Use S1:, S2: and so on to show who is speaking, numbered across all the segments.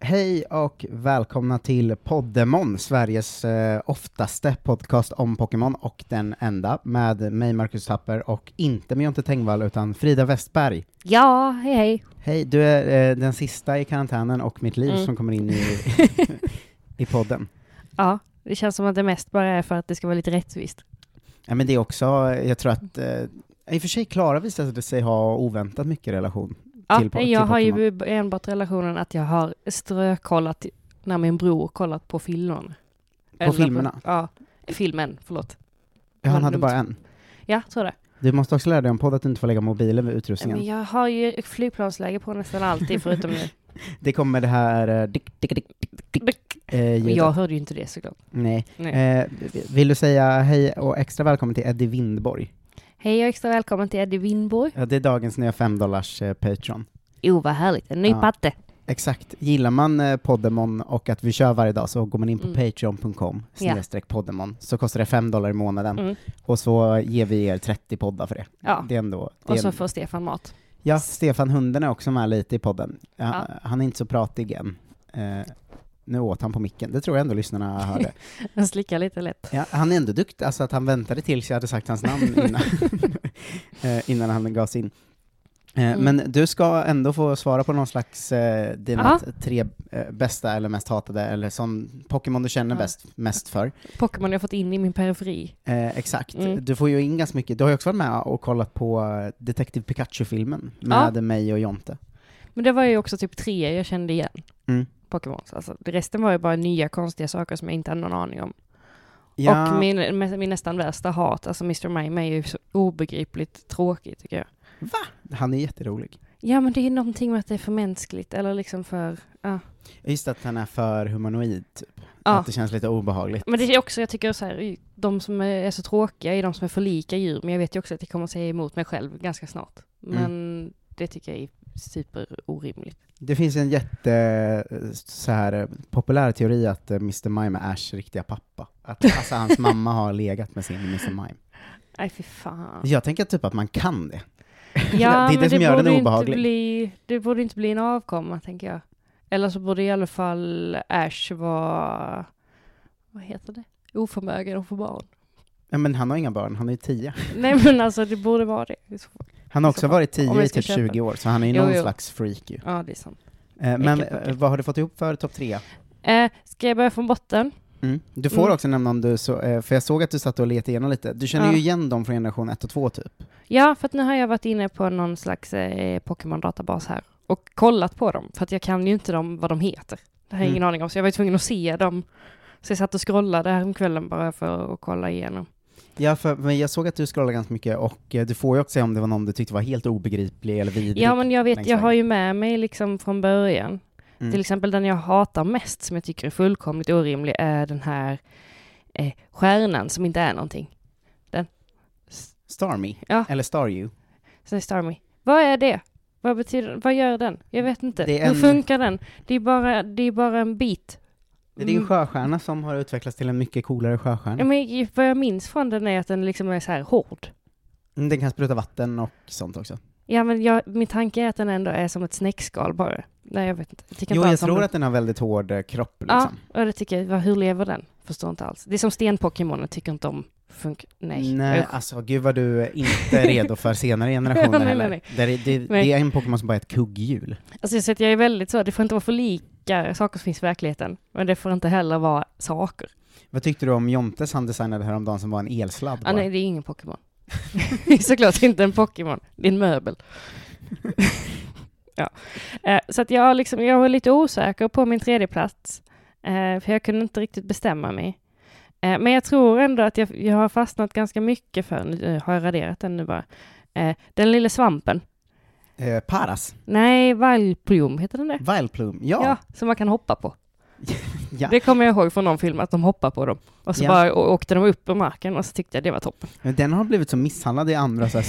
S1: Hej och välkomna till Poddemon, Sveriges eh, oftaste podcast om Pokémon och den enda, med mig Marcus Tapper och inte med Jonte Tengvall utan Frida Westberg.
S2: Ja, hej hej.
S1: Hej, du är eh, den sista i karantänen och mitt liv
S2: Mm.
S1: som kommer in i, i podden.
S2: Ja, det känns som att det mest bara är för att det ska vara lite rättvist.
S1: Ja, men det är också, jag tror att, eh, i och för sig Klara visade sig ha oväntat mycket relation.
S2: Ja,
S1: Till po- till
S2: jag har
S1: Pokémon.
S2: ju enbart relationen att jag har strökollat när min bror kollat på filmen.
S1: På filmerna?
S2: ja, filmen, förlåt.
S1: Ja, han
S2: Vad
S1: hade
S2: dumt.
S1: bara en.
S2: Ja, tror det.
S1: Du måste också lära dig om podd att du inte får lägga mobilen vid
S2: Men
S1: utrustningen.
S2: jag har ju flygplansläge på nästan alltid förutom nu.
S1: Det kommer det här eh, dick, dick, dick, dick, dick, eh,
S2: Men
S1: ljudet.
S2: jag hörde ju inte det såklart.
S1: Nej.
S2: Nej.
S1: Eh, vill du säga hej och extra välkommen till Eddie Windborg?
S2: Hej och extra välkommen till Eddie Winborg.
S1: Ja, det är dagens nya 5 dollars eh, Patreon.
S2: Jo, vad härligt. En ny
S1: Ja.
S2: patte.
S1: Exakt. Gillar man eh, Poddemon och att vi kör varje dag så går man in på
S2: Mm.
S1: patreon.com
S2: Ja.
S1: snedstreck poddemon så kostar det 5 dollar i månaden
S2: Mm.
S1: och så ger vi er 30 poddar för det.
S2: Ja,
S1: Det är ändå... Det
S2: och
S1: är
S2: så
S1: en...
S2: får Stefan mat.
S1: Ja, Stefan Hunden är också med lite i podden. Ja,
S2: Ja.
S1: Han är inte så pratig än. Eh, nu åt han på micken, det tror jag ändå lyssnarna hörde.
S2: Han slickar lite lätt.
S1: Ja, han är ändå duktig, alltså att han väntade tills jag hade sagt hans namn innan, eh, innan han gav sig in. Eh,
S2: Mm.
S1: Men du ska ändå få svara på någon slags, eh, dina
S2: Ja.
S1: t- tre eh, bästa eller mest hatade, eller som Pokémon du känner
S2: Ja.
S1: bäst, mest för.
S2: Pokémon jag har fått in i min periferi.
S1: Eh, exakt.
S2: Mm.
S1: Du får ju in ganska mycket. Du har ju också varit med och kollat på eh, Detective Pikachu-filmen
S2: Ja.
S1: med mig och Jonte.
S2: Men det var ju också typ tre jag kände igen.
S1: Mm.
S2: Pokémons. Alltså, det- resten var ju bara nya konstiga saker som jag inte hade någon aning om.
S1: Ja,
S2: Och min, mä- min nästan värsta hat, alltså Mr. Mime är ju så obegripligt tråkig tycker jag.
S1: han är jätterolig.
S2: Ja men det är någonting med att det är för mänskligt eller liksom för, ja.
S1: Just att han är för humanoid, typ.
S2: ja.
S1: Att det känns lite obehagligt.
S2: Men det är också, jag tycker så här, de som är är så tråkiga är de som är för lika djur, men jag vet ju också att jag kommer säga emot mig själv ganska snart.
S1: Mm.
S2: Men det tycker jag är superorimligt.
S1: Det finns en jätte eh, så här, eh, populär teori att eh, Mr. Mime är Ash riktiga pappa. Att alltså, hans mamma har legat med sin Mr. Mime.
S2: Nej fy fan.
S1: Jag tänker typ att man kan det.
S2: Ja,
S1: det är det
S2: men
S1: som
S2: det
S1: gör den
S2: borde ju
S1: obehaglig.
S2: Inte bli, det borde inte bli en avkomma, tänker jag. Eller så borde i alla fall Ash vara, vad heter det, oförmögen att få barn.
S1: Ja, men han har inga barn, han är ju tio.
S2: Nej men alltså det borde vara det. i så fall.
S1: Han har
S2: I så
S1: också
S2: fall.
S1: varit
S2: Om
S1: tio
S2: jag
S1: i
S2: ska
S1: typ
S2: köpa.
S1: 20 år, så han är ju
S2: Jo,
S1: någon
S2: jo.
S1: slags freak ju.
S2: Ja, det är sant.
S1: Eh, Men
S2: Äckligt, äckligt.
S1: eh, vad har du fått ihop för topp tre?
S2: Eh, ska jag börja från botten?
S1: Mm. Du får
S2: Mm.
S1: också nämna om du, så, eh, för jag såg att du satt och letade igenom lite. Du känner
S2: Ja.
S1: ju igen dem från generation 1 och 2 typ.
S2: Ja, för att nu har jag varit inne på någon slags eh, Pokémon-databas här och kollat på dem, för att jag kan ju inte dem, vad de heter. Det har jag
S1: Mm.
S2: ingen aning om, så jag var ju tvungen att se dem. Så jag satt och scrollade häromkvällen bara för att kolla igenom.
S1: Ja, för, men jag såg att du scrollade ganska mycket och eh, du får ju också säga om det var någon du tyckte var helt obegriplig eller vidrig.
S2: Ja, men jag vet,
S1: längs
S2: jag
S1: vägen.
S2: har ju med mig liksom från början.
S1: Mm.
S2: Till exempel den jag hatar mest, som jag tycker är fullkomligt orimlig, är den här eh, stjärnan som inte är någonting.
S1: Starmie?
S2: Ja.
S1: Eller Star You?
S2: Säger Starmy. Vad är det? Vad betyder, vad gör den? Jag vet inte.
S1: Det är
S2: Hur
S1: en-
S2: funkar den? Det är bara, det är bara en bit.
S1: Det är ju en
S2: Mm.
S1: sjöstjärna som har utvecklats till en mycket coolare
S2: Ja,
S1: sjöstjärna.
S2: men vad jag minns från den är att den liksom är så här hård.
S1: Mm, Den kan spruta vatten och sånt också.
S2: Ja, men jag, min tanke är att den ändå är som ett snäckskal bara. Nej, jag vet inte. Jag tycker
S1: Jo,
S2: inte
S1: jag
S2: alls om
S1: tror
S2: den.
S1: att den har väldigt hård eh, kropp liksom.
S2: Ja, och det tycker jag, vad- hur lever den? Förstår inte alls. Det är som stenpokémoner, tycker inte om funk... Nej.
S1: Nej,
S2: Usch.
S1: alltså gud vad du är inte är redo för senare generationer
S2: Nej, nej,
S1: heller.
S2: nej.
S1: Där är- Det, det
S2: Nej.
S1: är en Pokémon som bara är ett kugghjul.
S2: Alltså, så att jag är väldigt så, det får inte vara för lika saker som finns i verkligheten. Men det får inte heller vara saker.
S1: Vad tyckte du om Jontes han designade häromdagen som var en elsladd?
S2: Ah,
S1: bara?
S2: nej, det är ingen Pokémon. Det är Såklart inte en Pokémon, det är en möbel. ja. eh, så att jag, liksom, jag var lite osäker på min tredje plats eh, för jag kunde inte riktigt bestämma mig. Eh, men jag tror ändå att jag, jag har fastnat ganska mycket för, nu eh, har jag raderat den nu bara, eh, den lilla svampen.
S1: Eh, Paras,
S2: Nej, Valplium heter den det?
S1: Vileplume, ja.
S2: Ja,
S1: ja.
S2: som man kan hoppa på.
S1: Ja.
S2: Det kommer jag ihåg från någon film, att de hoppar på dem. Och så
S1: Ja.
S2: bara å- åkte de upp ur marken och så tyckte jag det var toppen.
S1: Men Den har blivit så misshandlad i andra så här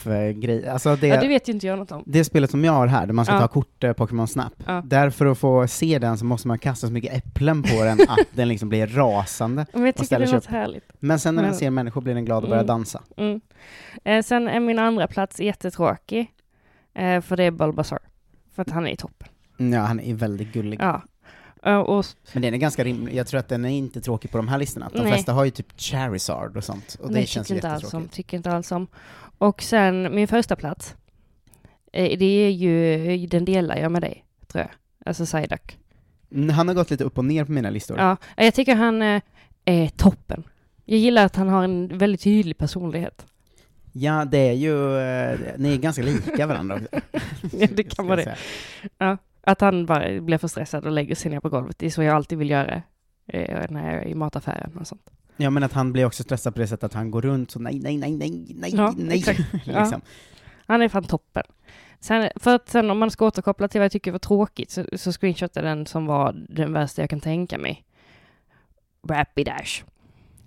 S1: spin-off-grejer. Alltså det,
S2: Ja, det vet ju inte jag något om.
S1: det spelet som jag har här, där man ska
S2: Ja.
S1: ta kort eh, Pokémon Snap,
S2: Ja.
S1: där för att få se den så måste man kasta så mycket äpplen på den att den liksom blir rasande.
S2: Men jag
S1: Och
S2: tycker
S1: ställer
S2: det
S1: sig
S2: låter härligt.
S1: Men sen när den
S2: Men-
S1: ser människor blir den glad och börjar
S2: Mm.
S1: dansa.
S2: Mm. Eh, sen är min andra plats jättetråkig. Eh, för det är Bulbasaur. För att han är i toppen.
S1: Mm, Ja, han är väldigt gullig.
S2: Ja. Eh, och
S1: Men den är ganska rimlig, jag tror att den är inte tråkig på de här listorna. De
S2: Nej.
S1: flesta har ju typ Charizard och sånt, och det
S2: Nej,
S1: känns ju
S2: tycker inte alls om,
S1: jättetråkigt.
S2: tycker inte alls om. Och sen min första plats eh, det är ju, den delar jag med dig, tror jag. Alltså Psyduck.
S1: Mm, Han har gått lite upp och ner på mina listor.
S2: Ja, jag tycker han eh, är toppen. Jag gillar att han har en väldigt tydlig personlighet.
S1: Ja, det är ju, eh, ni är ganska lika varandra också.
S2: Ja, det kan
S1: ska
S2: vara
S1: jag
S2: det.
S1: säga.
S2: Att han bara blir för stressad och lägger sig ner på golvet. Det är så jag alltid vill göra eh, när jag är i mataffären och sånt.
S1: Ja, men att han blir också stressad på det sättet att han går runt så nej, nej, nej, nej, nej,
S2: Ja,
S1: nej.
S2: exakt.
S1: liksom.
S2: Han är fan toppen. Sen, för att sen om man ska återkoppla till vad jag tycker var tråkigt så, så screenshotade jag den som var den värsta jag kan tänka mig. Rapidash.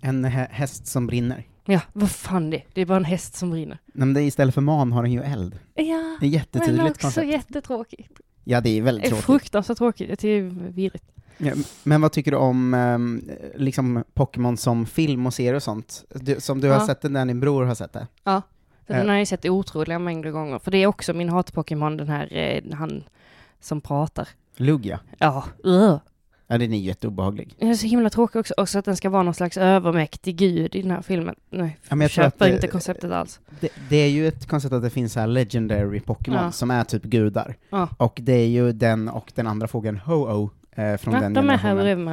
S1: En hä- häst som brinner.
S2: Ja, vad fan det Det är bara en häst som brinner.
S1: Nej, men det är istället för man har den ju eld.
S2: Ja,
S1: Det är
S2: men
S1: jättetydligt
S2: också
S1: koncept.
S2: jättetråkigt.
S1: Ja, det är
S2: Det
S1: väldigt
S2: är
S1: tråkigt.
S2: fruktansvärt tråkigt. Jag tycker Det är virrigt.
S1: Ja, men vad tycker du om ehm, liksom Pokémon som film och serier och sånt? Du, som du har
S2: Ja.
S1: sett det, när din bror har sett det?
S2: Så Den har jag sett otroliga mängder gånger. För det är också min hat-Pokémon, den här eh, han som pratar.
S1: Lugia.
S2: Ja, ugh.
S1: Ja, den är ju jätteobehaglig.
S2: Den är så himla tråkig också. Också att den ska vara någon slags övermäktig gud i den här filmen. Nej,
S1: Ja, men
S2: jag
S1: jag tror att
S2: köper
S1: det,
S2: inte konceptet alls.
S1: det, det är ju ett koncept att det finns så här legendary Pokémon
S2: Ja.
S1: som är typ gudar.
S2: Ja.
S1: Och det är ju den och den andra fågeln Ho-Oh eh, från
S2: Nej,
S1: den
S2: de är här
S1: generationen.
S2: bredvid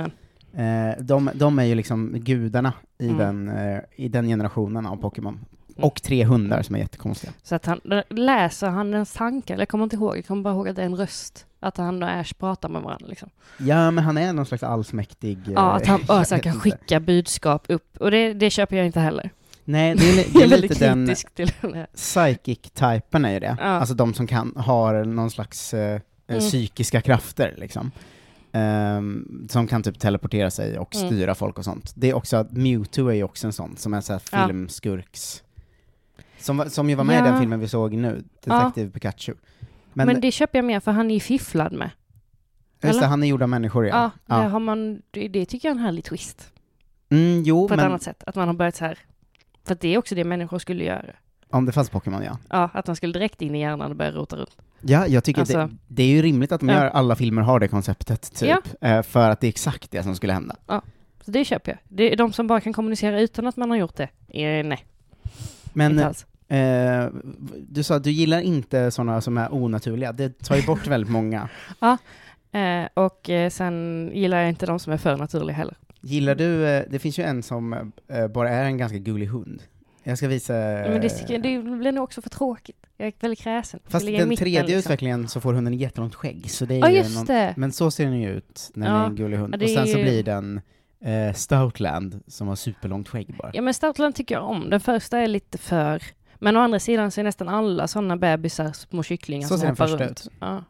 S2: varandra.
S1: Eh, de, de är ju liksom gudarna i,
S2: Mm.
S1: den, eh, i den generationen av Pokémon. Och tre hundar som är jättekonstiga.
S2: Så att han, läser han ens tankar? Eller jag kommer inte ihåg, jag kommer bara ihåg att det är en röst. Att han och Ash pratar med varandra liksom.
S1: Ja, men han är någon slags allsmäktig...
S2: Ja,
S1: eh,
S2: att han bara så
S1: jag
S2: här
S1: vet
S2: kan
S1: inte.
S2: skicka budskap upp. Och det, det köper jag inte heller.
S1: Nej, det är, li-
S2: Jag
S1: det
S2: är
S1: är
S2: väldigt
S1: lite den
S2: kritisk till den här.
S1: psychic-typen är ju det.
S2: Ja.
S1: Alltså de som kan, har någon slags eh, eh,
S2: Mm.
S1: psykiska krafter liksom. Ehm, som kan typ teleportera sig och
S2: Mm.
S1: styra folk och sånt. Det är också, att Mewtwo är ju också en sån, som är såhär
S2: Ja.
S1: filmskurks... Som, var- som ju var med
S2: Ja.
S1: i den filmen vi såg nu, Detektiv Pikachu. Men,
S2: Men, det köper jag mer för han är ju fifflad med.
S1: just det,
S2: eller?
S1: han är gjord av människor
S2: Ja,
S1: ja. ja.
S2: Där har man, det, det tycker jag är en härlig twist.
S1: Mm, jo,
S2: På ett
S1: men
S2: annat sätt, att man har börjat så här. För att det är också det människor skulle göra.
S1: om det fanns Pokémon ja.
S2: Ja, att de skulle direkt in i hjärnan och börja rota runt.
S1: Ja, jag tycker det,
S2: Alltså-
S1: det är ju rimligt att de
S2: Ja.
S1: gör, alla filmer har det konceptet, typ. Eh, För att det är exakt det som skulle hända.
S2: Så det köper jag. Det är de som bara kan kommunicera utan att man har gjort det. Eh, nej,
S1: Men
S2: inte alls.
S1: eh, du sa att du gillar inte sådana som är onaturliga, det tar ju bort väldigt många.
S2: Eh, och eh, sen gillar jag inte de som är för naturliga heller.
S1: Gillar du, eh, det finns ju en som eh, bara är en ganska gullig hund. Jag ska visa...
S2: Men det, tycker jag- det blir nog också för tråkigt. Jag är väldigt kräsen. Jag
S1: eh, Fast
S2: vill ligga i
S1: den
S2: mitten,
S1: tredje
S2: liksom.
S1: utvecklingen så får hunden jättelångt skägg, så det är
S2: Ja,
S1: ju
S2: just
S1: någon...
S2: det.
S1: Men så ser den ju ut när den
S2: Ja,
S1: är en gullig hund.
S2: ja, det
S1: Och sen
S2: är
S1: så
S2: ju-
S1: blir den eh, Stoutland, som har superlångt skägg bara.
S2: Ja men Stoutland tycker jag om. Den första är lite för... Men å andra sidan så är nästan alla sådana bebisar, små kycklingar
S1: Så
S2: som
S1: ser den
S2: hoppar
S1: första
S2: runt.
S1: ut.
S2: Ja.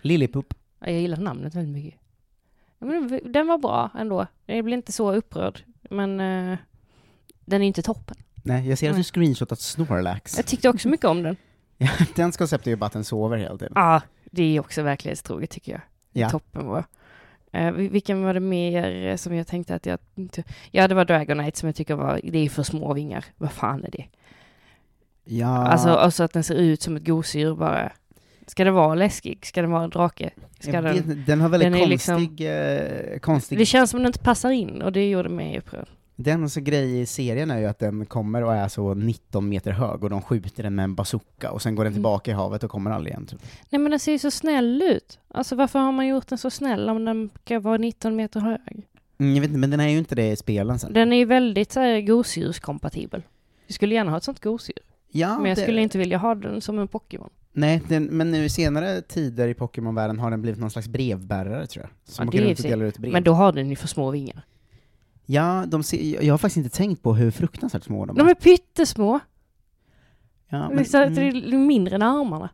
S1: Lillipup.
S2: Ja, Jag gillar namnet väldigt mycket. Ja, men den var bra ändå. Jag blir inte så upprörd. Men eh, den är inte toppen.
S1: Nej, jag ser att du screenshotat Snorlax.
S2: Jag tyckte också mycket om den.
S1: Ja, dens koncept är ju bara att den sover hela tiden.
S2: Ja, det är också verklighetstroget tycker jag.
S1: Ja.
S2: Toppen var. Eh, vil- vilken var det mer eh, som jag tänkte att jag inte... Ja, det var Dragonite som jag tycker var... Det är för små vingar. Vad fan är det?
S1: Ja,
S2: Alltså, alltså att den ser ut som ett gosedjur bara. Ska det vara läskig? Ska den vara en drake? Ska
S1: jag
S2: den...
S1: vet, den har väldigt
S2: den är
S1: konstig,
S2: liksom-
S1: eh, konstig...
S2: Det känns som den inte passar in och det gjorde mig upprörd.
S1: Den så grej i serien är ju att den kommer och är så 19 meter hög och de skjuter den med en bazooka och sen går den
S2: Mm.
S1: tillbaka i havet och kommer aldrig igen. Typ.
S2: Nej men den ser ju så snäll ut. Alltså varför har man gjort den så snäll om den ska vara 19 meter hög?
S1: Mm, jag vet inte, men den är ju inte det i spelen sen.
S2: Den är ju väldigt så här, gosedjurskompatibel. Jag skulle gärna ha ett sånt gosedjur.
S1: ja,
S2: men jag
S1: det-
S2: skulle inte vilja ha den som en Pokémon.
S1: Nej, den, men nu i senare tider i Pokémon-världen har den blivit någon slags brevbärare tror jag. Som
S2: Ja, det
S1: åker
S2: är i och
S1: runt och
S2: för sig-
S1: delar ut brev.
S2: Men då har den ju för små vingar.
S1: Ja, de ser, jag har faktiskt inte tänkt på hur fruktansvärt små de är.
S2: De är pyttesmå.
S1: ja, mm.
S2: Men, liksom, Det är mindre än armarna.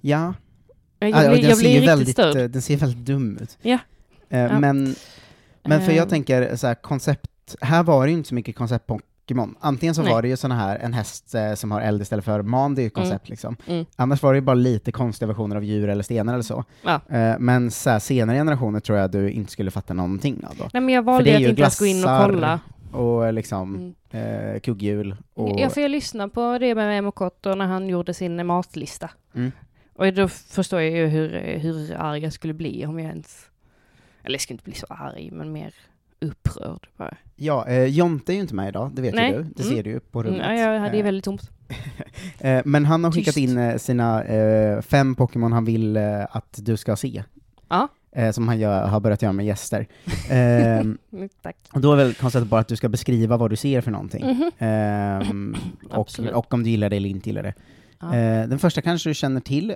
S1: ja,
S2: Jag
S1: Ja, och
S2: blir,
S1: den
S2: jag
S1: ser ju
S2: blir riktigt
S1: väldigt,
S2: störd.
S1: eh, Den ser väldigt dum ut.
S2: Ja.
S1: Eh,
S2: Ja.
S1: Men, men för
S2: Eh.
S1: jag tänker så här, koncept, här var det ju inte så mycket koncept Pokémon. Antingen så
S2: Nej.
S1: var det ju såna här, en häst eh, som har eld istället för man, det är ju ett koncept liksom.
S2: Mm.
S1: Annars var det ju bara lite konstiga versioner av djur eller stenar eller så.
S2: Ja.
S1: Eh, Men så här, senare generationer tror jag du inte skulle fatta någonting av då.
S2: Nej men jag
S1: det
S2: valde
S1: är
S2: att
S1: ju
S2: inte ens gå in och
S1: glassar
S2: kolla. Mm.
S1: Och eh, liksom, eh, kugghjul och...
S2: Ja, för jag lyssnade på det med Emo Cotto när han gjorde sin matlista.
S1: Mm.
S2: Och då förstår jag ju hur, hur arg jag skulle bli om jag ens... Eller jag skulle inte bli så arg, men mer upprörd bara.
S1: Ja, eh, Jonte är ju inte med idag, det vet
S2: Nej.
S1: ju du. Det
S2: Mm.
S1: ser du ju på rummet.
S2: Mm, ja, jag hade ju
S1: Eh,
S2: väldigt tomt.
S1: eh, men han har skickat
S2: Tyst.
S1: in eh, sina eh, fem Pokémon han vill eh, att du ska se.
S2: Ja.
S1: Eh, som han gör, har börjat göra med gäster. Eh,
S2: Mm, Tack.
S1: och då är väl konceptet bara att du ska beskriva vad du ser för någonting.
S2: Mhm.
S1: Ehm, och,
S2: Absolut.
S1: och om du gillar det eller inte gillar det.
S2: Ja.
S1: Eh, den första kanske du känner till, eh,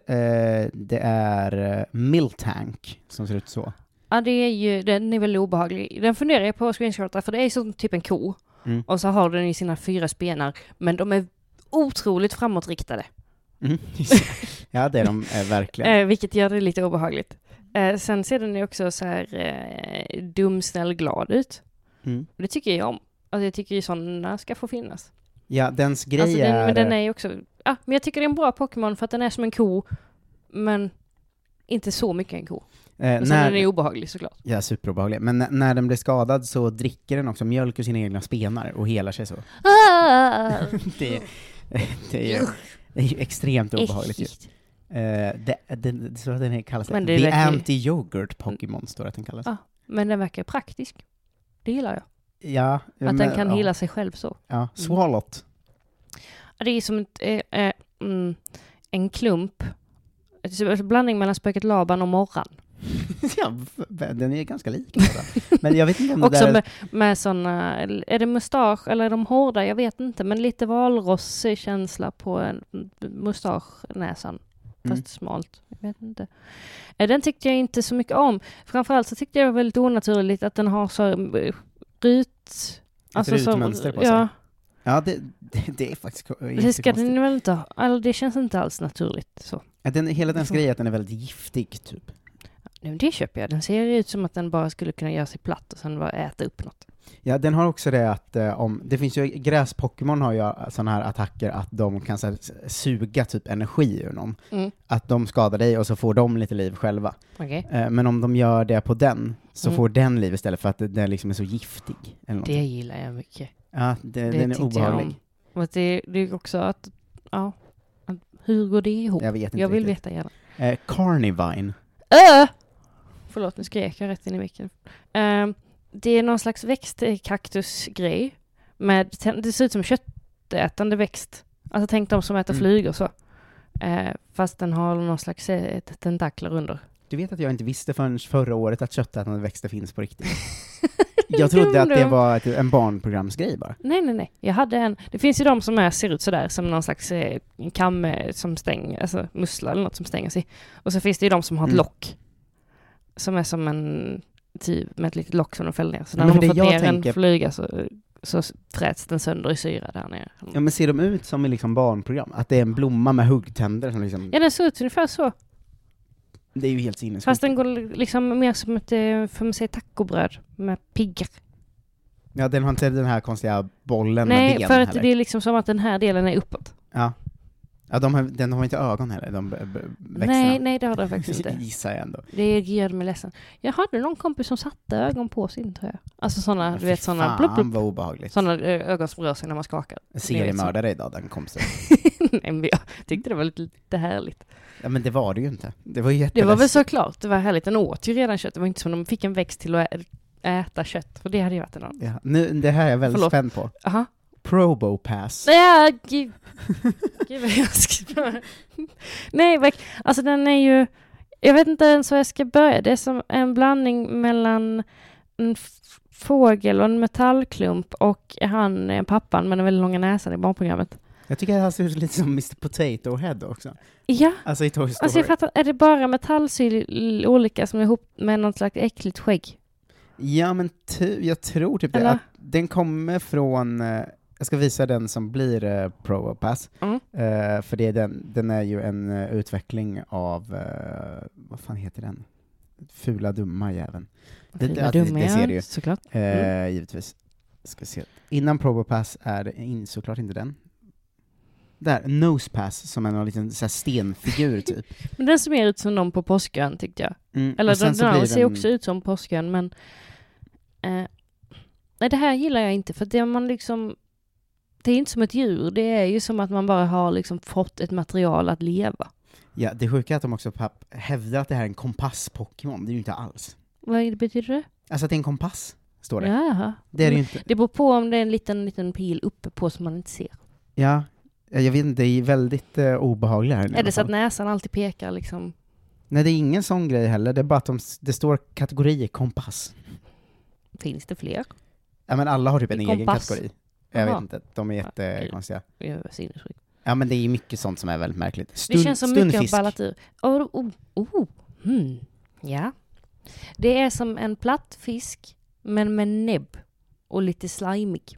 S1: det är eh, Miltank, som ser ut så.
S2: Ja, det är ju, den är väl obehaglig. Den funderar jag på att screenshotta, för det är som typ en ko.
S1: Mm.
S2: Och så har den ju sina fyra spenar, men de är otroligt framåtriktade.
S1: Mhm. ja, det är de eh, verkligen.
S2: Eh, vilket gör det lite obehagligt. Eh, sen ser den ju också så här eh, dum, snäll, glad ut.
S1: Mm.
S2: Och det tycker jag om. Alltså jag tycker ju sådana ska få finnas.
S1: Ja, dens grej
S2: alltså den,
S1: är...
S2: men den är ju också, ja, men jag tycker det är en bra Pokémon för att den är som en ko, men inte så mycket en ko.
S1: eh,
S2: Men sen
S1: när,
S2: den är obehaglig såklart.
S1: Ja, superobehaglig. Men n- när den blir skadad så dricker den också mjölk ur sina egna spenar och helar sig så.
S2: Ah,
S1: Det, det, är, ju- det är ju extremt obehagligt ju.
S2: äckligt.
S1: Eh, det, det, det står att den här kallas
S2: Men det
S1: The
S2: verkar ju-
S1: Anti-Yoghurt Pokémon, står det att den kallas.
S2: Ja. Men den verkar praktisk. Det gillar jag.
S1: Ja,
S2: Att den kan
S1: ja,
S2: hela Mm. sig själv så.
S1: Ja, Swalot.
S2: Det är som ett, eh, eh, mm, en klump. Ett- En blandning mellan spöket Laban och Morran.
S1: ja, v- den är ganska lik. båda. Men jag vet inte om det
S2: Också
S1: där...
S2: med, med sådana, är det mustasch eller är de hårda? Jag vet inte, men lite valrossig känsla på en mm, mustaschnäsan. Fast
S1: Mm.
S2: smalt. Jag vet inte. Eh, Den tyckte jag inte så mycket om. Framförallt så tyckte jag det var väldigt onaturligt att den har så eh, rut... alltså så-
S1: rutmönster på sig.
S2: ja,
S1: Ja, det, det, det är faktiskt ko-
S2: det ska
S1: jättekonstigt.
S2: den väl inte ha. Alltså, det känns inte alls naturligt. Så.
S1: Att den, hela
S2: Liksom-
S1: dens grej är att den är väldigt giftig, typ.
S2: Nej, men det köper jag. Den ser ju ut som att den bara skulle kunna göra sig platt och sen bara äta upp något.
S1: Ja, den har också det att eh, om, det finns ju, gräspokémon har ju sådana här attacker att de kan så här, s- suga typ energi ur någon.
S2: Mm.
S1: Att de skadar dig och så får de lite liv själva.
S2: Okej.
S1: Eh, men om de gör det på den, så
S2: Mm.
S1: får den liv istället för att den liksom är så giftig. Eller
S2: Det
S1: det,
S2: gillar jag mycket.
S1: ja, det, den är
S2: tyckte
S1: obehaglig.
S2: Jag, om. Och att det, det är också att, ja, att, hur går det ihop?
S1: Jag, vet inte
S2: Oh, Jag vill
S1: riktigt.
S2: veta gärna.
S1: Eh, Carnivine.
S2: Öh! Förlåt, nu skrek jag rätt in i micken. Ehm, det är någon slags växtkaktusgrej. Med, det ser ut som köttätande växt. Alltså tänk de som äter
S1: Mm.
S2: flugor så. Eh, fast den har någon slags eh, tentakler under.
S1: Du vet att jag inte visste förrän förra året att köttätande växter finns på riktigt.
S2: Dum
S1: Jag trodde att det
S2: dum.
S1: var ett, en barnprogramsgrej bara.
S2: Nej, nej, nej. Jag hade en. Det finns ju de som är, ser ut sådär som någon slags eh, kamme som stänger, alltså mussla eller något som stänger sig. Och så finns det ju de som har ett
S1: Mm.
S2: lock. Som är som en typ med ett litet lock som de fäller ner. Så när
S1: Men
S2: de har
S1: det
S2: fått
S1: jag
S2: ner
S1: tänker-
S2: en flyga så, så fräts den sönder i syra där nere.
S1: Ja, men ser de ut som i liksom barnprogram? Att det är en blomma med huggtänder som liksom...
S2: Ja, den ser ut ungefär så.
S1: Det är ju helt sinnessjukt.
S2: Fast den går liksom mer som ett, eh, får man säga, tacobröd med piggar.
S1: Ja, den har inte den här konstiga bollen med
S2: Nej,
S1: ben
S2: för att
S1: heller.
S2: det är liksom som att den här delen är uppåt.
S1: Ja. Ja, de har, den har inte ögon heller, de b- b- växterna.
S2: Nej, nej, det har den faktiskt inte.
S1: Gissar jag ändå.
S2: Det gör mig ledsen. Jag hade någon kompis som satte ögon på sin tröja. Alltså sådana, du
S1: Fy
S2: vet sådana,
S1: fan,
S2: blup, blup,
S1: vad obehagligt.
S2: sådana eh, ögon som rör sig när man skakar.
S1: Seriemördare idag, den kompisen.
S2: Nej, men jag tyckte det var lite, lite härligt.
S1: Ja, men det var det ju inte. Det var ju
S2: Det var väl
S1: jätteläskigt.
S2: såklart, det var härligt. Den åt ju redan kött. Det var inte som de fick en växt till att ä- äta kött, för det hade ju varit en annan.
S1: Ja, nu, det här är jag väldigt
S2: Förlåt.
S1: spänd på.
S2: Aha.
S1: Probopass.
S2: Nej, gud. gud vad jag ska... Nej, vad- alltså den är ju... Jag vet inte ens var jag ska börja. Det är som en blandning mellan en f- fågel och en metallklump och han, eh, pappan med den väldigt långa näsan i barnprogrammet.
S1: Jag tycker att han ser ut lite som Mr Potato Head också.
S2: Ja,
S1: Alltså i Toy Story.
S2: alltså jag fattar. Är det bara metallsyl olika som är ihop med något slags äckligt skägg?
S1: Ja, men ty, jag tror typ det.
S2: Eller?
S1: Att den kommer från... eh, Jag ska visa den som blir eh, Probopass.
S2: Mm.
S1: Eh, för det är den, den är ju en eh, utveckling av... eh, vad fan heter den? Fula dumma jäveln. Det- alltså,
S2: Fy,
S1: det-
S2: vad
S1: det-
S2: dum
S1: det
S2: jag
S1: ser
S2: är,
S1: du ju.
S2: Såklart.
S1: Eh,
S2: Mm.
S1: Givetvis. Ska se. Innan Probopass är det in, såklart inte den. Där, Nosepass, som är någon liten så här, stenfigur typ.
S2: Men den ser mer ut som de på Påskön tyckte jag.
S1: Mm,
S2: Eller
S1: och sen
S2: den,
S1: så
S2: den
S1: blir
S2: andra ser också ut som påsken, men... Eh, nej, det här gillar jag inte, för det man liksom... Det är inte som ett djur, det är ju som att man bara har liksom fått ett material att leva.
S1: Ja, det sjuka är att de också papp, hävdar att det här är en kompass-Pokémon, det är ju inte alls.
S2: Vad betyder det?
S1: Alltså att det är en kompass, står det.
S2: Jaha.
S1: Det är det ju inte.
S2: Det beror på om det är en liten, liten pil uppe på som man inte ser.
S1: Ja, jag vet inte, det är väldigt eh, obehagligt här nu. i
S2: är det
S1: alla
S2: så
S1: fall.
S2: att näsan alltid pekar liksom?
S1: Nej, det är ingen sån grej heller. Det är bara att de, s- det står kategori kompass.
S2: Finns det fler?
S1: Ja, men alla har typ en egen
S2: Kompass.
S1: kategori. Jag
S2: Jaha.
S1: vet inte, de är jättekonstiga.
S2: Jag är sinnessjuk.
S1: Ja, men det är ju mycket sånt som är väldigt märkligt. Stund,
S2: Det känns som mycket har
S1: stundfisk.
S2: ballat ur. Oh, oh, oh. Hmm. Ja. Det är som en platt fisk, men med näbb och lite slimig.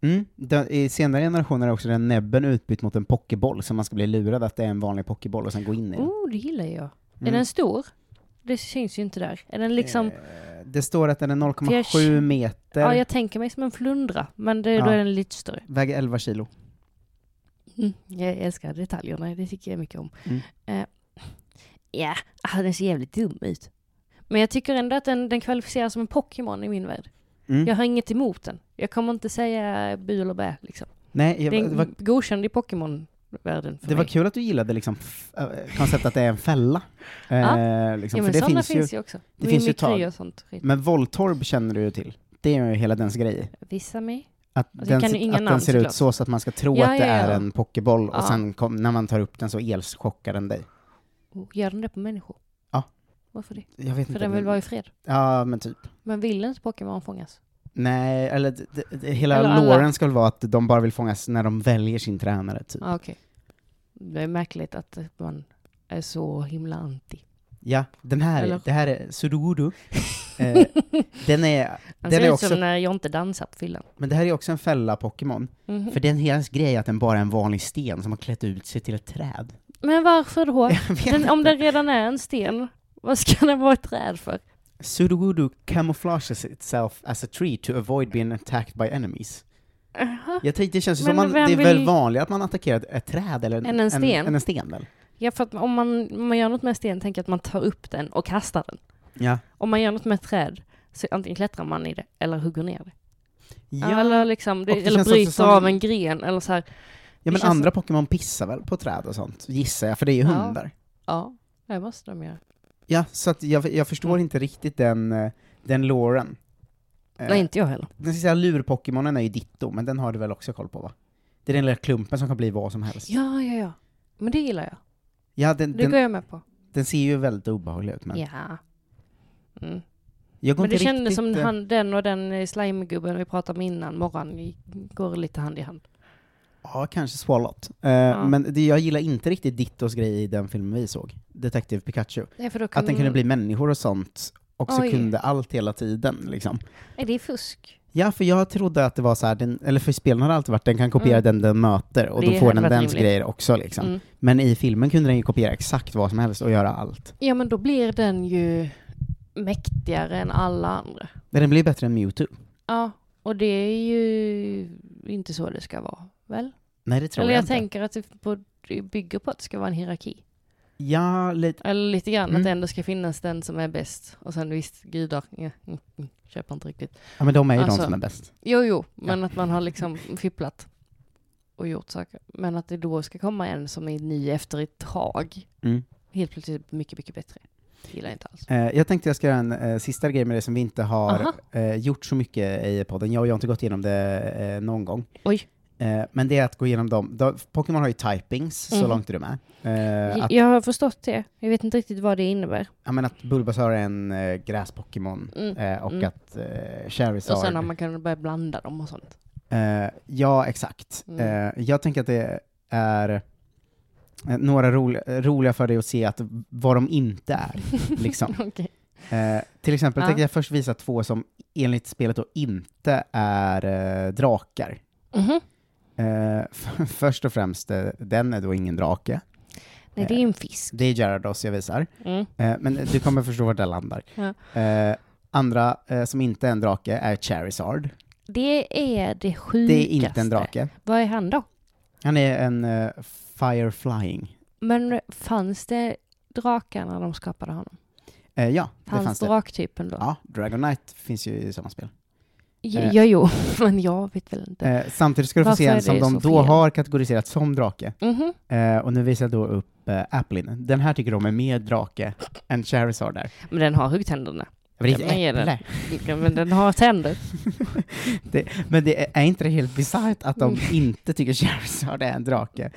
S1: Mm. Den, I senare generationer är också den näbben utbytt mot en pokéboll, så man ska bli lurad att det är en vanlig pokéboll och sen gå in i den.
S2: Oh, det gillar jag. Är
S1: Mm.
S2: den stor? Det syns ju inte där. Är den liksom...
S1: Eh, Det står att den är 0,7
S2: Fjärs-
S1: meter,
S2: Ja, jag tänker mig som en flundra, men det, då
S1: Ja.
S2: är den lite större.
S1: väger 11 kilo.
S2: Mm. Jag älskar detaljerna, det tycker jag mycket om.
S1: Mm.
S2: Eh, Ja, ah, den ser jävligt dum ut. Men jag tycker ändå att den, den kvalificeras som en Pokémon i min värld.
S1: Mm.
S2: Jag har inget emot den. Jag kommer inte säga bu eller bä liksom.
S1: Nej, jag,
S2: Det är
S1: det, var,
S2: en godkänd i Pokémon-världen för
S1: det var
S2: mig.
S1: kul att du gillade liksom f- äh, konceptet att det är en fälla. Eh, liksom, för
S2: ja, men
S1: det
S2: sådana
S1: finns ju,
S2: finns ju också.
S1: det finns ju Mm.
S2: Mimikry
S1: tag.
S2: och sånt. skit.
S1: men våldtorb känner du ju till. Det är ju hela dens grej.
S2: Vissa mig.
S1: Att
S2: Alltså,
S1: den,
S2: jag kan ju
S1: sit-
S2: inga
S1: att den
S2: namn,
S1: ser ut
S2: såklart.
S1: så, så att man ska tro
S2: Ja,
S1: att det
S2: ja,
S1: är
S2: ja.
S1: en pokéboll,
S2: Ja.
S1: och sen kom, när man tar upp den så elschockar den dig.
S2: Oh, Gör den det på människor?
S1: Ja.
S2: Varför det?
S1: Jag vet
S2: För
S1: inte.
S2: den vill vara i fred.
S1: Ja, men typ.
S2: Men vill inte Pokémon fångas?
S1: Nej, eller d- d- d- hela
S2: Eller alla.
S1: låren ska väl vara att de bara vill fångas när de väljer sin tränare, typ.
S2: Ah, okej. Det är märkligt att man är så himla anti.
S1: Ja, den här,
S2: Eller-
S1: det här är Suduru. eh, den är,
S2: Han
S1: den
S2: ser
S1: är
S2: ut
S1: också,
S2: som när Alltså, jag inte dansar på fyllan.
S1: men det här är också en fälla Pokémon.
S2: Mhm.
S1: För den hela grejen är att den bara är en vanlig sten som har klätt ut sig till ett träd.
S2: Men varför då?
S1: Jag vet
S2: Den,
S1: inte.
S2: om den redan är en sten, vad ska den vara ett träd för?
S1: Suduru camouflages itself as a tree to avoid being attacked by enemies.
S2: Aha.
S1: Jag tänkte, det känns ju
S2: Men
S1: som man, det är
S2: vem
S1: väl
S2: vill-
S1: vanligt att man attackerar ett träd eller
S2: Än en sten?
S1: än en sten väl?
S2: Ja, för att om man, om man gör något med sten, tänker jag att man tar upp den och kastar den.
S1: Ja.
S2: Om man gör något med ett träd, så antingen klättrar man i det eller hugger ner det.
S1: Ja,
S2: Eller, liksom, det,
S1: Och det
S2: eller
S1: känns
S2: bryter
S1: också som-
S2: av en gren eller så här.
S1: ja men
S2: känns
S1: andra Pokémon pissar väl på träd och sånt, gissar jag, för det är ju
S2: Ja.
S1: hundar.
S2: Ja, det måste de göra.
S1: Eh. Ja, så att jag, jag förstår
S2: Mm.
S1: inte riktigt den, eh, den låren. Eh,
S2: Nej, inte jag heller.
S1: Den sista lur-Pokémonen är ju Ditto, men den har du väl också koll på va? Det är den lilla klumpen som kan bli vad som helst.
S2: Ja, ja, ja. Men det gillar jag.
S1: Ja, den,
S2: Det går
S1: den,
S2: jag med på.
S1: den ser ju väldigt obehaglig ut, men
S2: Ja. Mm.
S1: jag går
S2: Men det
S1: inte
S2: kändes
S1: riktigt...
S2: som
S1: eh,
S2: han, den och den eh, slimegubben vi pratade om innan, morgon, i- går lite hand i hand.
S1: Ja, kanske Swallot. Eh, Men det, jag gillar inte riktigt Dittos grej i den filmen vi såg, Detective Pikachu.
S2: Nej, för då kan
S1: Att den kunde bli människor och sånt, och så
S2: Mm. Oj.
S1: kunde allt hela tiden liksom.
S2: Nej, det är fusk.
S1: Ja, för jag trodde att det var så här, den, eller för spelen har det alltid varit, den kan kopiera
S2: Mm.
S1: den den möter, och
S2: Det
S1: då får
S2: hade
S1: den
S2: varit
S1: dens
S2: rimligt.
S1: grejer också liksom.
S2: Mm.
S1: Men i filmen kunde den ju kopiera exakt vad som helst och göra allt.
S2: Ja, men då blir den ju mäktigare än alla andra.
S1: Den blir bättre än Mewtwo.
S2: Ja, och det är ju inte så det ska vara, väl?
S1: Nej, det tror
S2: Eller jag,
S1: jag, inte.
S2: tänker att det på- det bygger på att det ska vara en hierarki.
S1: Ja, lite.
S2: Eller lite grann,
S1: Mm.
S2: att det ändå ska finnas den som är bäst. Och sen visst, gudar, ja, mm, mm, köper inte riktigt.
S1: Ja, men de är ju de
S2: Alltså-
S1: som är bäst.
S2: Jo, jo, men att man har liksom fipplat och gjort saker. Men att det då ska komma en som är ny efter ett tag,
S1: Mm.
S2: helt plötsligt mycket, mycket bättre. Det gillar jag inte alls.
S1: Eh, jag tänkte jag ska göra en eh, sista grej med det som vi inte har
S2: Aha.
S1: eh, gjort så mycket i podden. Jag och jag har inte gått igenom det eh, någon gång.
S2: Oj.
S1: Eh, men det är att gå igenom dem. Då- Pokémon har ju typings, så
S2: Mhm.
S1: långt är du med. Eh, att,
S2: Jag har förstått det. Jag vet inte riktigt vad det innebär.
S1: ja, men att Bulbasaur är en eh, gräs-Pokémon,
S2: Mm.
S1: eh, och
S2: Mm.
S1: att eh,
S2: Och sen har
S1: Charizard...
S2: man kunnat börja blanda dem och sånt.
S1: Eh, ja, exakt.
S2: Mm.
S1: Eh, jag tänker att det är eh, några roliga, roliga för dig att se att vad de inte är. liksom.
S2: Okej.
S1: Eh, till exempel
S2: Ja.
S1: tänkte jag först visa två som enligt spelet då inte är eh, drakar.
S2: Mhm.
S1: Eh, f- först och främst, eh, den är då ingen drake.
S2: Nej, det är ju en fisk.
S1: Det är Gyarados jag visar.
S2: Mm.
S1: Eh, men du kommer förstå vart det landar.
S2: Ja.
S1: Eh, andra eh, som inte är en drake är Charizard.
S2: Det är det sjukaste.
S1: Det är inte en drake.
S2: Vad är han då?
S1: Han är en eh, fireflying.
S2: Men fanns det drakar när de skapade honom?
S1: Eh, ja,
S2: Fanns,
S1: det fanns det.
S2: draktypen då?
S1: Ja, Dragonite finns ju i samma spel.
S2: Ja,
S1: eh.
S2: ja jo, men jag vet väl inte.
S1: Eh, samtidigt ska du få
S2: Varför
S1: se
S2: är
S1: en
S2: det
S1: som de
S2: så
S1: då
S2: fel?
S1: har kategoriserat som drake.
S2: Mhm.
S1: Eh, och nu visar jag då upp eh, Applin. Den här tycker de är mer drake än Charizard där.
S2: Men den har huggtänderna.
S1: Men det är
S2: kan
S1: ett
S2: man ge den.
S1: äpple.
S2: Ja, Men den har tänder.
S1: Det, men det är, är inte det helt bisarrt att
S2: Mm.
S1: de inte tycker Charizard är en drake?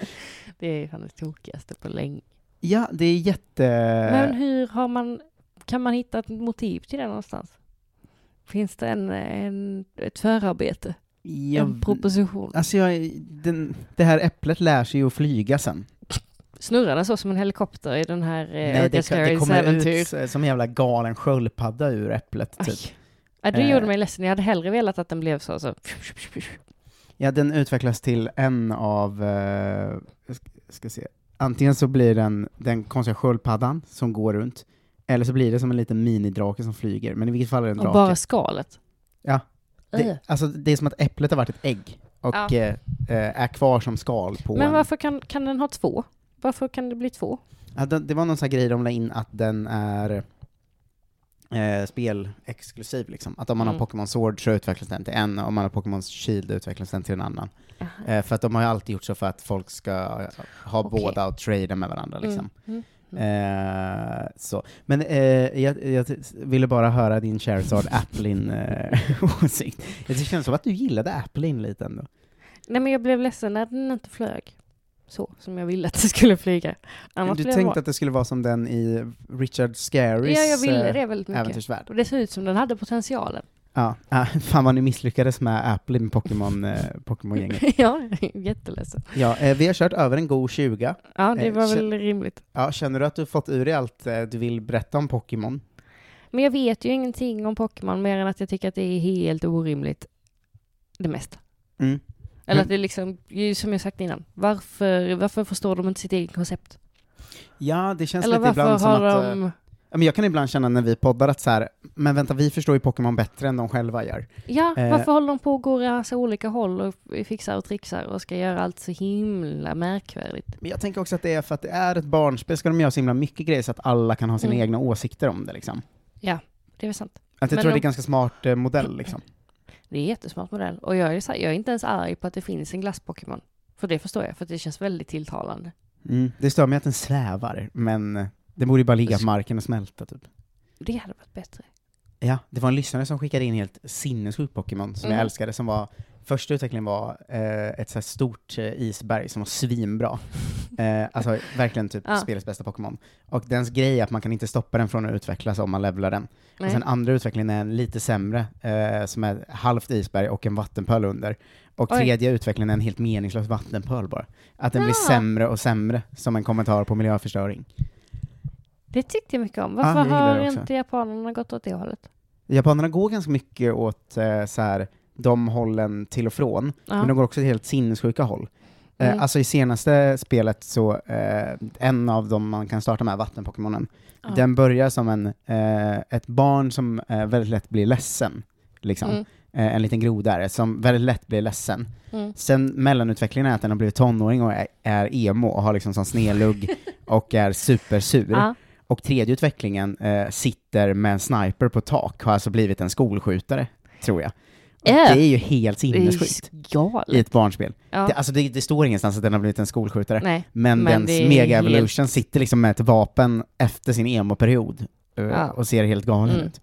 S2: Det är fan det tokigaste på länge.
S1: Ja, det är jätte...
S2: Men hur har man, kan man hitta ett motiv till det någonstans? Finns det en, en, ett förarbete? En
S1: jag,
S2: proposition?
S1: alltså jag, den, det här äpplet lär sig ju att flyga sen.
S2: Snurrar den så som en helikopter i den här eh,
S1: Nej,
S2: Nej,
S1: det, det kommer ut typ. s- som en jävla galen sköldpadda ur äpplet.
S2: Aj.
S1: Typ.
S2: Ja, det
S1: Eh.
S2: gjorde mig ledsen. Jag hade hellre velat att den blev så. så.
S1: Ja, den utvecklas till en av, eh, jag ska- jag ska se, antingen så blir den den konstiga sköldpaddan som går runt, eller så blir det som en liten minidrake som flyger, men i vilket fall är det en
S2: Och
S1: drake.
S2: bara skalet.
S1: Ja.
S2: Äh.
S1: Det, alltså, det är som att äpplet har varit ett ägg och
S2: Ja.
S1: eh, eh, är kvar som skal på
S2: Men
S1: en.
S2: varför kan, kan den ha två? Varför kan det bli två?
S1: Ja, det, det var någon sån här grej de la in att den är eh, spelexklusiv liksom. Att om man
S2: Mm.
S1: har Pokémon Sword så utvecklas den till en, om man har Pokémon Shield utvecklas den till en annan.
S2: Aha.
S1: Eh, för att de har ju alltid gjort så för att folk ska eh, ha
S2: Okej.
S1: båda och trada med varandra liksom.
S2: Mm.
S1: Eh, så. Men eh, jag, jag t- ville bara höra din Charizard Applin-åsikt. det känns som att du gillade Applin lite ändå.
S2: Nej, men jag blev ledsen när den inte flög. Så som jag ville att den skulle flyga. Annars
S1: du
S2: blev det
S1: tänkte
S2: bra.
S1: att det skulle vara som den i Richard Scarys
S2: Ja, jag ville
S1: eh,
S2: det väldigt mycket.
S1: äventyrsvärld.
S2: Och det ser ut som den hade potentialen.
S1: Ja, ah, fan vad ni misslyckades med Apple med Pokémon, eh, Pokémon-gänget.
S2: ja, jätteledsen.
S1: ja, eh, vi har kört över en god 20.
S2: Ja, det
S1: Eh,
S2: var
S1: så-
S2: väl rimligt.
S1: Ja, känner du att du fått ur dig allt eh, du vill berätta om Pokémon?
S2: Men jag vet ju ingenting om Pokémon mer än att jag tycker att det är helt orimligt det mesta.
S1: Mm.
S2: Eller att
S1: Men-
S2: det är liksom, ju som jag sagt innan, varför, varför förstår de inte sitt eget koncept?
S1: Ja, det känns
S2: Eller
S1: lite
S2: varför
S1: ibland som
S2: har
S1: att... eh,
S2: de...
S1: ja, men jag kan ibland känna när vi poddar att så här, men vänta, vi förstår ju Pokémon bättre än de själva gör.
S2: Ja,
S1: eh,
S2: varför håller de på och går i massa olika håll och fixar och trixar och ska göra allt så himla märkvärdigt?
S1: Men jag tänker också att det är för att det är ett barnspel, ska de göra så himla mycket grejer så att alla kan ha sina
S2: Mm.
S1: egna åsikter om det liksom.
S2: Det är väl sant.
S1: Att jag
S2: Men
S1: tror att det är
S2: de-
S1: en ganska smart eh, modell liksom.
S2: Det är en jättesmart modell. Och jag är, så här, jag är inte ens arg på att det finns en glass-Pokémon. För det förstår jag, för att det känns väldigt tilltalande.
S1: Mm. Det stör mig att den svävar, men eh, det borde ju bara ligga på
S2: Sk-
S1: marken och smälta typ.
S2: Det hade varit bättre.
S1: Ja, det var en lyssnare som skickade in helt sinnessjuk Pokémon som jag
S2: Mm.
S1: älskade, som var, första utvecklingen var eh, ett så här stort eh, isberg som var svinbra. Eh, alltså verkligen typ
S2: Ja.
S1: spelets bästa Pokémon. Och dens grej är att man kan inte stoppa den från att utvecklas om man levlar den.
S2: Nej.
S1: Och sen andra utvecklingen är en lite sämre, eh, som är halvt isberg och en vattenpöl under. Och
S2: Oj.
S1: tredje utvecklingen är en helt meningslös vattenpöl bara. Att den blir
S2: Ja.
S1: sämre och sämre, som en kommentar på miljöförstöring.
S2: Det tyckte jag mycket om.
S1: Ah, jag
S2: Varför
S1: gillar det
S2: har
S1: också.
S2: inte japanerna gått åt det hållet?
S1: Japanerna går ganska mycket åt eh, så här, de hållen till och från,
S2: Ja.
S1: men de går också till helt sinnessjuka håll. Eh,
S2: Mm.
S1: Alltså i senaste spelet så, eh, en av dem man kan starta med, vattenpokémonen,
S2: Ja.
S1: den börjar som en, eh, ett barn som eh, väldigt lätt blir ledsen. Liksom.
S2: Mm,
S1: Eh, en liten grodare som väldigt lätt blir ledsen.
S2: mm.
S1: Sen mellanutvecklingen är att den har blivit tonåring och är, är emo och har liksom sån snedlugg och är supersur.
S2: Ja.
S1: Och tredje utvecklingen eh, sitter med en sniper på tak, har alltså blivit en skolskjutare, tror jag. Och
S2: Äh.
S1: Det är ju helt
S2: Det är ju
S1: sinnessjukt i
S2: galet.
S1: ett barnspel.
S2: Ja.
S1: Det, alltså det, det står ingenstans att den har blivit en skolskjutare,
S2: Nej.
S1: men,
S2: Men
S1: dens
S2: det är
S1: mega
S2: helt-
S1: evolution sitter liksom med ett vapen efter sin emo-period eh,
S2: Ja.
S1: och ser helt galen
S2: Mm.
S1: ut.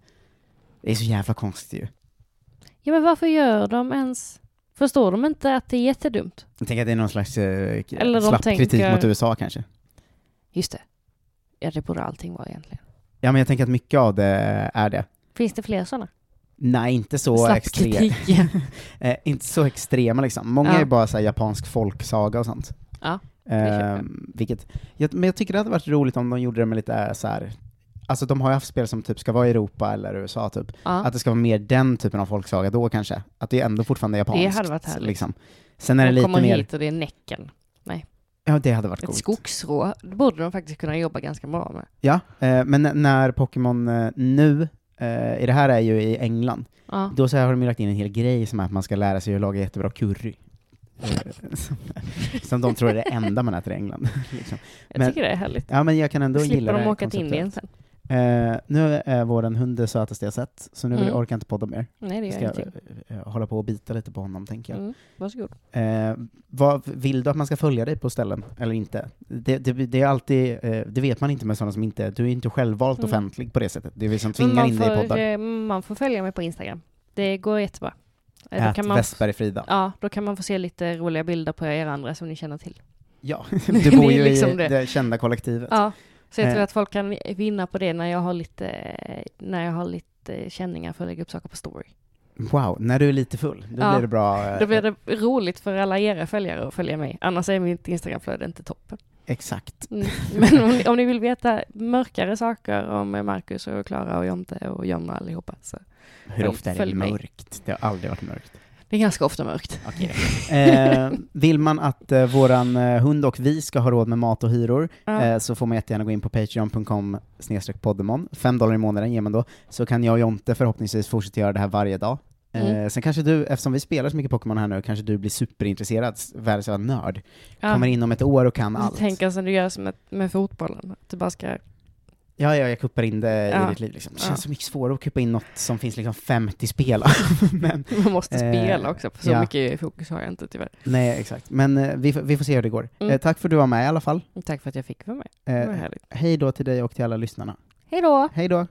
S1: Det är så jävla konstigt ju.
S2: Ja, men varför gör de ens... Förstår de inte att det är jättedumt?
S1: Jag tänker att det är någon slags eh, k-
S2: Eller de
S1: slapp kritik
S2: tänker-
S1: mot USA kanske.
S2: Just det. Ja, det borde allting vara egentligen.
S1: Ja, men jag tänker att mycket av det är det.
S2: Finns det fler sådana?
S1: Nej, inte så,
S2: Slapp
S1: extre...
S2: kritik.
S1: eh, inte så extrema liksom. Många
S2: Ja.
S1: är bara så här, japansk folksaga och sånt.
S2: Ja, köper
S1: eh,
S2: jag.
S1: vilket, jag, men jag tycker det hade varit roligt om de gjorde det med lite eh, så här. Alltså de har ju haft spel som typ ska vara i Europa eller USA typ.
S2: Ja.
S1: Att det ska vara mer den typen av folksaga då kanske. Att det är ändå fortfarande japanskt.
S2: hade varit härligt.
S1: Liksom. Sen är det
S2: de
S1: lite
S2: kommer
S1: mer...
S2: hit och det är Näcken.
S1: Ja, det hade varit
S2: Ett
S1: coolt.
S2: skogsrå. Det borde de faktiskt kunna jobba ganska bra med.
S1: Ja, eh, men n- när Pokémon eh, nu, eh, i det här är ju i England,
S2: Ja.
S1: då så här har de ju lagt in en hel grej som är att man ska lära sig hur laga jättebra curry. Eh, som, som de tror är det enda man äter i England. liksom.
S2: Jag
S1: Men-
S2: tycker det är härligt.
S1: Ja, men jag kan ändå
S2: Slipper
S1: gilla det
S2: de
S1: här
S2: åka till
S1: konceptet.
S2: Indien sen.
S1: Eh, nu är vår hund det sötaste jag sett, så nu vill
S2: Mm.
S1: jag orkar inte podda mer.
S2: Nej, det
S1: Jag
S2: gör
S1: ska
S2: ingenting.
S1: eh, hålla på och bita lite på honom, tänker jag.
S2: Mm, varsågod.
S1: Eh, vad, vill du att man ska följa dig på ställen, eller inte? Det, det, det är alltid, eh, det vet man inte med sådana som inte, du är inte självvalt
S2: Mm.
S1: offentlig på det sättet. Det är vi som
S2: Men
S1: tvingar
S2: man
S1: in dig i
S2: får,
S1: poddar.
S2: eh, man får följa mig på Instagram. Det går jättebra. Eh, Då
S1: Ät
S2: kan, man,
S1: Västberg Frida.
S2: ja, då kan man få se lite roliga bilder på er andra som ni känner till.
S1: Ja,
S2: Det
S1: du bor
S2: är
S1: ju i
S2: liksom
S1: det.
S2: det.
S1: kända kollektivet.
S2: Ja, så jag
S1: Eh.
S2: tror att folk kan vinna på det när jag har lite, eh, när jag har lite eh, känningar för att lägga upp saker på story.
S1: Wow, när du är lite full, då
S2: Ja.
S1: blir det bra. eh,
S2: Då blir det roligt för alla era följare att följa mig, annars är mitt Instagramflöde inte toppen.
S1: eh, Exakt.
S2: Mm. Men om ni, om ni vill veta mörkare saker om Marcus och Klara och Jonte och John och allihopa så
S1: Hur
S2: Följ-
S1: ofta är det
S2: följ mig.
S1: mörkt? Det har aldrig varit mörkt.
S2: det är ganska ofta mörkt.
S1: Okej då. eh, vill man att eh, våran eh, hund och vi ska ha råd med mat och hyror
S2: Ja.
S1: eh, så får man jättegärna gå in på patreon.com snedstreck poddemon. Fem dollar i månaden ger man då. Så kan jag och Jonte förhoppningsvis fortsätta göra det här varje dag. Eh,
S2: Mm.
S1: Sen kanske du, eftersom vi spelar så mycket Pokémon här nu, kanske du blir superintresserad, s- världens jävla nörd. Kommer in om ett år och kan
S2: Du
S1: allt.
S2: tänker som du gör som ett, med fotbollen, att du bara ska...
S1: Ja, ja, jag kuppar in det
S2: Ja.
S1: i ditt liv liksom. Det
S2: Ja.
S1: känns så mycket svårare att kuppa in något som finns liksom 50 spel av. Men,
S2: Man måste
S1: Eh,
S2: spela också, för så
S1: ja.
S2: mycket fokus har jag inte tyvärr.
S1: nej, exakt. Men eh, vi, får- vi får se hur det går.
S2: Mm.
S1: Eh, tack för att du var med i alla fall.
S2: Tack för att jag fick vara med. Det var
S1: Eh,
S2: härligt.
S1: hej då till dig och till alla lyssnarna.
S2: Hej då!
S1: Hej då!